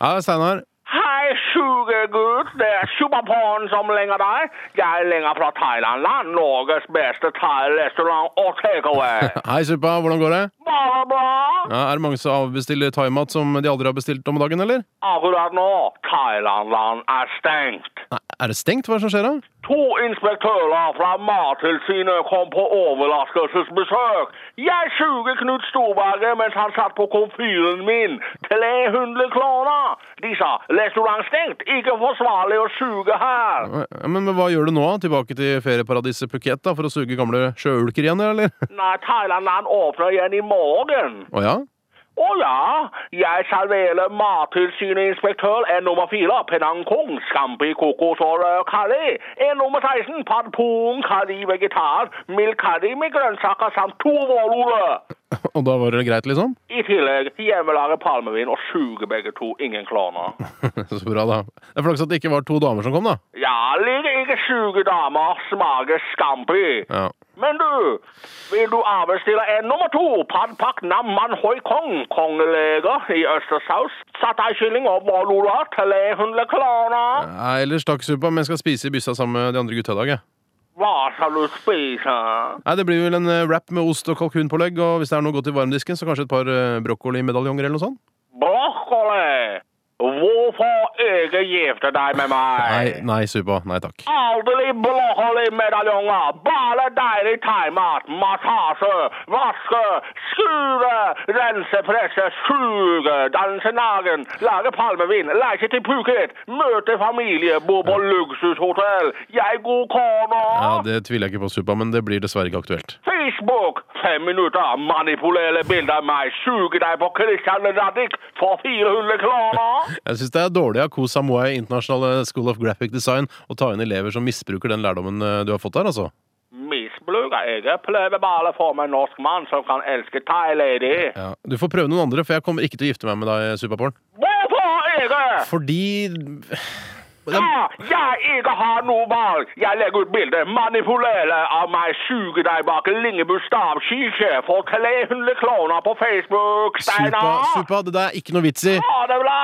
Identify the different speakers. Speaker 1: Ja, Steinar.
Speaker 2: Hei, sugegutt. Det er Superporn som ringer deg. Jeg ringer fra Thailand-land. Norges beste thai-restaurant og takeaway.
Speaker 1: Hei, Suppa. Hvordan går det?
Speaker 2: Bare bra.
Speaker 1: Ja, er det mange som avbestiller thaimat som de aldri har bestilt om dagen, eller?
Speaker 2: Akkurat nå, Thailand-land er stengt.
Speaker 1: Nei, er det stengt? Hva er det som skjer, da?
Speaker 2: To inspektører fra Mattilsynet kom på overraskelsesbesøk. Jeg suger Knut Storberget mens han satt på komfyren min. 300 kroner! De sa restaurant stengt, ikke forsvarlig å suge her.
Speaker 1: Ja, Men, men hva gjør du nå? da? Tilbake til ferieparadiset Phuket da, for å suge gamle sjøulker igjen, eller?
Speaker 2: Nei, Thailand-land åpner igjen i morgen.
Speaker 1: Å ja?
Speaker 2: Å ja, jeg serverer Mattilsynet-inspektør er nummer fire, Penang Kong, Scampi, kokos og rød curry. Er nummer 16, pad pung, curry vegetar, mild curry med grønnsaker samt to vårruller.
Speaker 1: Og da var det greit, liksom?
Speaker 2: I tillegg hjemmelaget palmevin og suger begge to, ingen kloner.
Speaker 1: Så bra, da. Det er flaks at det ikke var to damer som kom, da.
Speaker 2: Ja, ligger ikke suge damer, smaker Scampi.
Speaker 1: Ja.
Speaker 2: Men du, vil du avbestille en nummer to? Pad pak nam man hoi kong, kongeleger i østersaus. Satay-kylling og vårruller, 300 kroner.
Speaker 1: Nei, ellers takk, Suppa, men jeg skal spise i byssa sammen med de andre gutta i dag, jeg.
Speaker 2: Hva skal du spise?
Speaker 1: Nei, Det blir vel en eh, wrap med ost og kalkunpålegg, og hvis det er noe godt i varmdisken, så kanskje et par eh, brokkolimedaljonger eller noe sånt?
Speaker 2: Brokkoli! Hvorfor ikke gifte deg med
Speaker 1: Nei,
Speaker 2: meg?
Speaker 1: nei, Suppa. Nei takk.
Speaker 2: Aldri brokkoli-medaljonger! Bare deilig thaimat, massasje, vaske, skure, rense, presse, suge, danse nagen, lage palmevin, leise til Phuket, møte familie, bo på luksushotell, jeg god kone!
Speaker 1: Ja, Det tviler jeg ikke på, Suppa, men det blir dessverre ikke aktuelt.
Speaker 2: Facebook! Fem minutter, manipulere bilder av meg, suge deg på Christian Radich for 400 kroner!
Speaker 1: Jeg syns det er dårlig av Ko Samoei International eh, School of Graphic Design å ta inn elever som misbruker den lærdommen eh, du har fått der, altså.
Speaker 2: Misbruker jeg prøver bare å få meg en norsk mann som kan elske Thai Lady.
Speaker 1: Ja. Du får prøve noen andre, for jeg kommer ikke til å gifte meg med deg, Suppaporn.
Speaker 2: Hvorfor ikke?
Speaker 1: Fordi
Speaker 2: Ja, jeg ikke har noe valg. Jeg legger ut bilde, manipulerer av meg, suger deg bak Lingebu stavkirke for 300 kroner på Facebook,
Speaker 1: Suppa,
Speaker 2: Steinar.
Speaker 1: suppa, det der er ikke noe vits i.
Speaker 2: Ha det bra!